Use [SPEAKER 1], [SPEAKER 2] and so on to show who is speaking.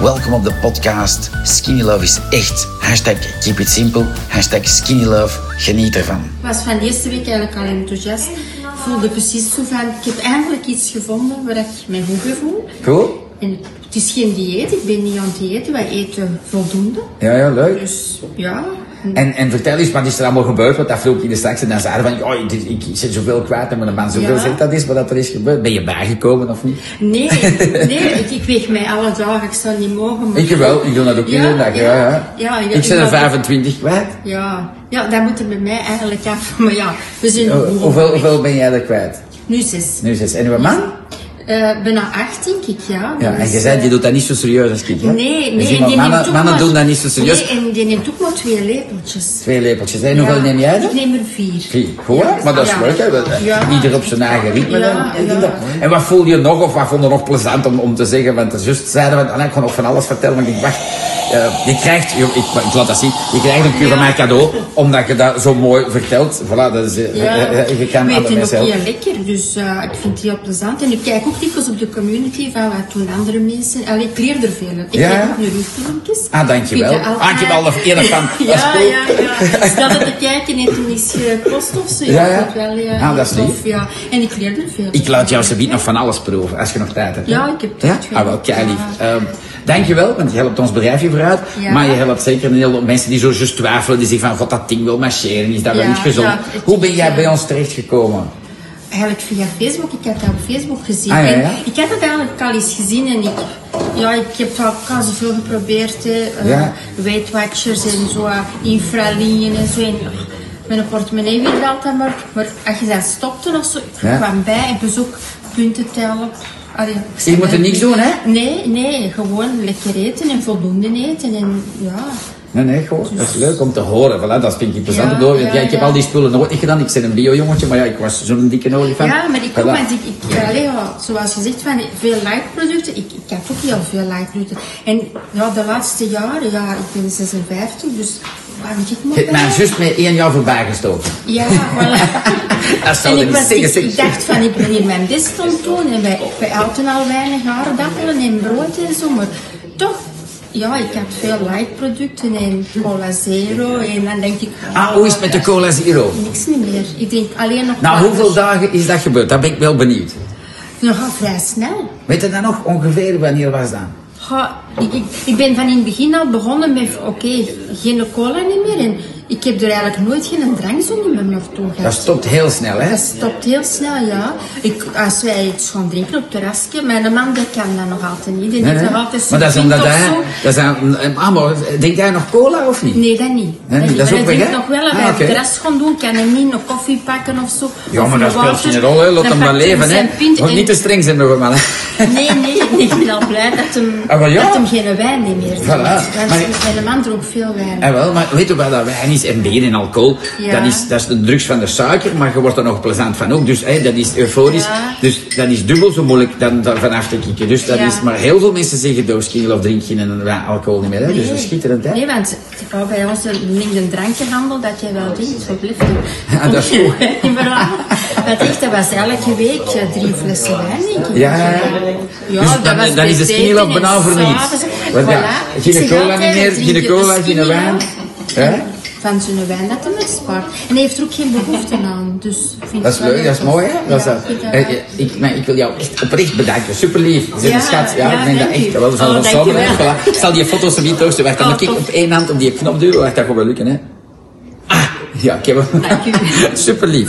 [SPEAKER 1] Welkom op de podcast. Skinny Love is echt. Hashtag keep it simple. Hashtag skinny love. Geniet ervan.
[SPEAKER 2] Ik was van de eerste week eigenlijk al enthousiast. Ik voelde precies zo van, ik heb eigenlijk iets gevonden waar ik mij goed bij voel.
[SPEAKER 3] Cool.
[SPEAKER 2] En het is geen dieet, ik ben niet aan het diëten, wij eten voldoende.
[SPEAKER 3] Ja, ja, leuk.
[SPEAKER 2] Dus ja,
[SPEAKER 3] En, en vertel eens, wat is er allemaal gebeurd? Want dat vroeg je straks en dan zei je van, "Ja, ik, ik zit zoveel kwijt en mijn man zoveel
[SPEAKER 2] Ja.
[SPEAKER 3] zegt dat is, wat dat er is gebeurd. Ben je bijgekomen of niet?
[SPEAKER 2] nee, nee ik, ik weeg mij alle dagen, ik zou niet mogen. Maar...
[SPEAKER 3] Ik wel, ik doe dat ook
[SPEAKER 2] Ja,
[SPEAKER 3] iedere dag. Ja, ja.
[SPEAKER 2] ja, ja,
[SPEAKER 3] ik zit er
[SPEAKER 2] ja.
[SPEAKER 3] 25 kwijt.
[SPEAKER 2] Ja, ja, dat moet er bij mij eigenlijk af. Maar ja, we zijn
[SPEAKER 3] Hoe-
[SPEAKER 2] nog
[SPEAKER 3] Oh, Hoeveel, hoeveel ben jij er kwijt?
[SPEAKER 2] Nu zes.
[SPEAKER 3] Nu zes. En uw man?
[SPEAKER 2] Eh, bijna 18, ik ja.
[SPEAKER 3] Ja, en
[SPEAKER 2] Dus,
[SPEAKER 3] je zei,
[SPEAKER 2] eh,
[SPEAKER 3] je doet dat niet zo serieus als ik. hè? Dus
[SPEAKER 2] Nee,
[SPEAKER 3] Je
[SPEAKER 2] nee.
[SPEAKER 3] ziet,
[SPEAKER 2] en
[SPEAKER 3] maar
[SPEAKER 2] die neemt
[SPEAKER 3] mannen,
[SPEAKER 2] ook
[SPEAKER 3] mannen
[SPEAKER 2] maar-
[SPEAKER 3] doen dat niet zo serieus.
[SPEAKER 2] Nee, en die neemt ook maar twee lepeltjes.
[SPEAKER 3] Twee lepeltjes. En hoeveel
[SPEAKER 2] Ja,
[SPEAKER 3] neem jij
[SPEAKER 2] Ik
[SPEAKER 3] dan?
[SPEAKER 2] neem er vier.
[SPEAKER 3] Vier. Goed, hè? maar dat is
[SPEAKER 2] Ja.
[SPEAKER 3] leuk. Hè? Dat-
[SPEAKER 2] Ja.
[SPEAKER 3] Ieder op zijn eigen ritme.
[SPEAKER 2] Ja,
[SPEAKER 3] dan. Ik
[SPEAKER 2] ja.
[SPEAKER 3] denk dat- En wat voel je nog of wat vond je nog plezant om, om te zeggen? Want de zus zeiden, want, allee, ik kon nog van alles vertellen. Maar ik denk, wacht, eh, je krijgt, ik, ik, ik laat dat zien, je krijgt een keer van mij cadeau. Omdat je dat zo mooi vertelt. Voilà, dat is, eh, eh, eh, je kan
[SPEAKER 2] ik
[SPEAKER 3] aan de
[SPEAKER 2] weet het
[SPEAKER 3] mensen
[SPEAKER 2] ook
[SPEAKER 3] helpen.
[SPEAKER 2] heel lekker, dus eh, ik vind het heel plezant. En ik kijk ook dikwijls op de community van wat doen andere mensen. Allee, ik leer er veel uit. Ik
[SPEAKER 3] Ja,
[SPEAKER 2] kijk
[SPEAKER 3] ja.
[SPEAKER 2] ook naar uw filmpjes.
[SPEAKER 3] Ah, dankjewel.
[SPEAKER 2] Peter Alkaar.
[SPEAKER 3] Ah, ik heb al de ene kant. Dat is
[SPEAKER 2] ja,
[SPEAKER 3] cool.
[SPEAKER 2] ja, ja. Stel dat te kijken heeft hem iets gekost of zo. Ja,
[SPEAKER 3] Ja, ja.
[SPEAKER 2] ik vind het wel, eh,
[SPEAKER 3] Ah, dat is
[SPEAKER 2] tof,
[SPEAKER 3] lief.
[SPEAKER 2] Ja. En ik leer er veel
[SPEAKER 3] Ik laat jou subiet nog van alles proeven, als je nog tijd hebt. hè?
[SPEAKER 2] Ja, ik heb
[SPEAKER 3] Ja?
[SPEAKER 2] tijd,
[SPEAKER 3] Ah, wel,
[SPEAKER 2] ja.
[SPEAKER 3] kei lief. Ehm, dankjewel, want je helpt ons bedrijfje vooruit.
[SPEAKER 2] Ja.
[SPEAKER 3] Maar je helpt zeker een heleboel mensen die zo juist twijfelen, die zeggen van, god, dat ding wil marcheren, is dat wel
[SPEAKER 2] Ja,
[SPEAKER 3] niet gezond?
[SPEAKER 2] ja, het-
[SPEAKER 3] Hoe ben jij
[SPEAKER 2] ja.
[SPEAKER 3] bij ons terechtgekomen?
[SPEAKER 2] Eigenlijk via Facebook, ik had dat op Facebook gezien.
[SPEAKER 3] Ah, ja, ja.
[SPEAKER 2] En ik had het eigenlijk al eens gezien en ik, ja, ik heb al, al zoveel geprobeerd. Hè. Eh,
[SPEAKER 3] Ja.
[SPEAKER 2] Weight Watchers en zo, eh, infralinien en zo. En ach, mijn portemonnee wilde altijd maar. Maar als je dat stopte of zo, ik
[SPEAKER 3] Ja.
[SPEAKER 2] kwam bij en bezoek, punten tellen. Allee, ik
[SPEAKER 3] Je moet er
[SPEAKER 2] zei,
[SPEAKER 3] niks doen, hè?
[SPEAKER 2] Nee, nee, gewoon lekker eten en voldoende eten. En ja,
[SPEAKER 3] Nee, nee, gewoon. Dat is leuk om te horen. Voilà, dat vind ik plezant.
[SPEAKER 2] Ja,
[SPEAKER 3] door. Want
[SPEAKER 2] ja,
[SPEAKER 3] ja, ik heb
[SPEAKER 2] ja.
[SPEAKER 3] al die spullen nooit gedaan. Ik ben een bio-jongetje, maar ja, ik was zo'n dikke olifant.
[SPEAKER 2] ja maar ik
[SPEAKER 3] Voilà.
[SPEAKER 2] ook, want ik, ik, allee, ja, zoals gezegd, van veel light-producten, ik, ik heb ook heel veel light-producten. En ja, de laatste jaren, ja, ik ben 56, dus waar moet ik
[SPEAKER 3] Je hebt mij
[SPEAKER 2] maar
[SPEAKER 3] juist met één jaar voorbij gestoken.
[SPEAKER 2] Ja, voilà.
[SPEAKER 3] Dat
[SPEAKER 2] en
[SPEAKER 3] zou je
[SPEAKER 2] ik,
[SPEAKER 3] niet
[SPEAKER 2] was,
[SPEAKER 3] zeggen,
[SPEAKER 2] ik,
[SPEAKER 3] zeg.
[SPEAKER 2] ik dacht van, ik ben hier mijn best aan het doen en wij, wij eten al weinig aardappelen en brood en zo, maar toch... Ja, ik heb veel light-producten en cola zero en dan denk ik... oh,
[SPEAKER 3] Ah, hoe is het met de cola zero?
[SPEAKER 2] Niks niet meer. Ik denk alleen nog
[SPEAKER 3] Nou,
[SPEAKER 2] water.
[SPEAKER 3] hoeveel dagen is dat gebeurd? Daar ben ik wel benieuwd.
[SPEAKER 2] Nogal vrij snel.
[SPEAKER 3] Weet je dan nog ongeveer wanneer was dat?
[SPEAKER 2] Ja, ik, ik, ik ben van in het begin al begonnen met, oké, geen cola niet meer. En ik heb er eigenlijk nooit geen drankzonde meer naar toe
[SPEAKER 3] Dat
[SPEAKER 2] gehad.
[SPEAKER 3] stopt heel snel, hè?
[SPEAKER 2] Dat stopt heel snel, ja. Ik, als wij iets gaan drinken op het terrasje, mijn man die kan dat nog altijd niet. Die
[SPEAKER 3] Nee,
[SPEAKER 2] heeft
[SPEAKER 3] nee.
[SPEAKER 2] nog altijd
[SPEAKER 3] Maar dat is
[SPEAKER 2] zo'n
[SPEAKER 3] omdat
[SPEAKER 2] pint of
[SPEAKER 3] hij...
[SPEAKER 2] zo.
[SPEAKER 3] Dat is aan, eh, ah, maar denkt hij nog cola of niet?
[SPEAKER 2] Nee, dat niet.
[SPEAKER 3] Nee, dat is
[SPEAKER 2] Maar
[SPEAKER 3] ook
[SPEAKER 2] hij
[SPEAKER 3] weg,
[SPEAKER 2] drinkt
[SPEAKER 3] hè?
[SPEAKER 2] nog wel, als
[SPEAKER 3] Ah,
[SPEAKER 2] hij op het
[SPEAKER 3] oké.
[SPEAKER 2] terras gaan doen, kan hij niet een koffie pakken of zo.
[SPEAKER 3] Ja,
[SPEAKER 2] of
[SPEAKER 3] maar
[SPEAKER 2] een
[SPEAKER 3] dat speelt
[SPEAKER 2] water.
[SPEAKER 3] geen rol, hè. Laat
[SPEAKER 2] Dan
[SPEAKER 3] hem maar
[SPEAKER 2] pakt hij
[SPEAKER 3] leven, hè.
[SPEAKER 2] zijn pint
[SPEAKER 3] Moet
[SPEAKER 2] en-
[SPEAKER 3] niet te streng zijn met hem, man. hè.
[SPEAKER 2] Nee, nee, ik ben al blij dat hem,
[SPEAKER 3] Ah, wel ja.
[SPEAKER 2] dat hem geen wijn niet meer drinkt.
[SPEAKER 3] Voilà.
[SPEAKER 2] Want
[SPEAKER 3] Maar-
[SPEAKER 2] Mijn man dronk veel wijn.
[SPEAKER 3] Eh, wel, maar weet je wat dat wijn is en bier en alcohol?
[SPEAKER 2] Ja.
[SPEAKER 3] Dat, is, dat is de drugs van de suiker, maar je wordt er nog plezant van ook. Dus eh, dat is euforisch.
[SPEAKER 2] Ja.
[SPEAKER 3] Dus dat is dubbel zo moeilijk dan, dan vanaf te kicken. Dus dat
[SPEAKER 2] Ja.
[SPEAKER 3] is, maar heel veel mensen zeggen doodskingel of drink geen eh, alcohol niet meer. Hè? Dus dat is schitterend, hè?
[SPEAKER 2] Nee, want oh, bij ons linkt een drankjehandel dat jij wel drinkt, dus verblift.
[SPEAKER 3] Ja, dat is goed.
[SPEAKER 2] Wat echt, dat was elke week eh, drie flessen wijn, denk ik.
[SPEAKER 3] Ja, ja.
[SPEAKER 2] Ja,
[SPEAKER 3] Dus
[SPEAKER 2] dat
[SPEAKER 3] dan-
[SPEAKER 2] was
[SPEAKER 3] dan is de
[SPEAKER 2] bij
[SPEAKER 3] skinny love
[SPEAKER 2] eten en
[SPEAKER 3] bijna voor niets.
[SPEAKER 2] s'avonds.
[SPEAKER 3] Want ja,
[SPEAKER 2] Voilà.
[SPEAKER 3] geen
[SPEAKER 2] Ik zeg
[SPEAKER 3] cola
[SPEAKER 2] altijd,
[SPEAKER 3] niet meer,
[SPEAKER 2] drink
[SPEAKER 3] geen
[SPEAKER 2] je
[SPEAKER 3] cola,
[SPEAKER 2] skinny
[SPEAKER 3] geen wijn.
[SPEAKER 2] love.
[SPEAKER 3] Hè?
[SPEAKER 2] Van zijn wijn dat hem spaart. En hij heeft er ook geen behoefte aan. Dus ik vind
[SPEAKER 3] Dat is
[SPEAKER 2] het wel
[SPEAKER 3] leuk, dat is mooi, hè? Dat is,
[SPEAKER 2] Ja,
[SPEAKER 3] dat.
[SPEAKER 2] ik vind dat
[SPEAKER 3] Eh,
[SPEAKER 2] wel.
[SPEAKER 3] eh, ik, maar ik wil jou echt oprecht bedanken. Super lief. Je bent
[SPEAKER 2] Ja,
[SPEAKER 3] een schat. Ja,
[SPEAKER 2] ja,
[SPEAKER 3] ik denk dat
[SPEAKER 2] dank u.
[SPEAKER 3] echt wel van
[SPEAKER 2] Oh,
[SPEAKER 3] ons
[SPEAKER 2] dank je
[SPEAKER 3] samen.
[SPEAKER 2] wel.
[SPEAKER 3] Voilà. Ik zal die foto's er niet toasten. Wacht, dan
[SPEAKER 2] Oh,
[SPEAKER 3] moet ik
[SPEAKER 2] tof.
[SPEAKER 3] op één hand op die knop duwen. Wacht, dat gaat wel lukken, hè? Ah, ja, ik heb hem.
[SPEAKER 2] Dank u.
[SPEAKER 3] Super lief.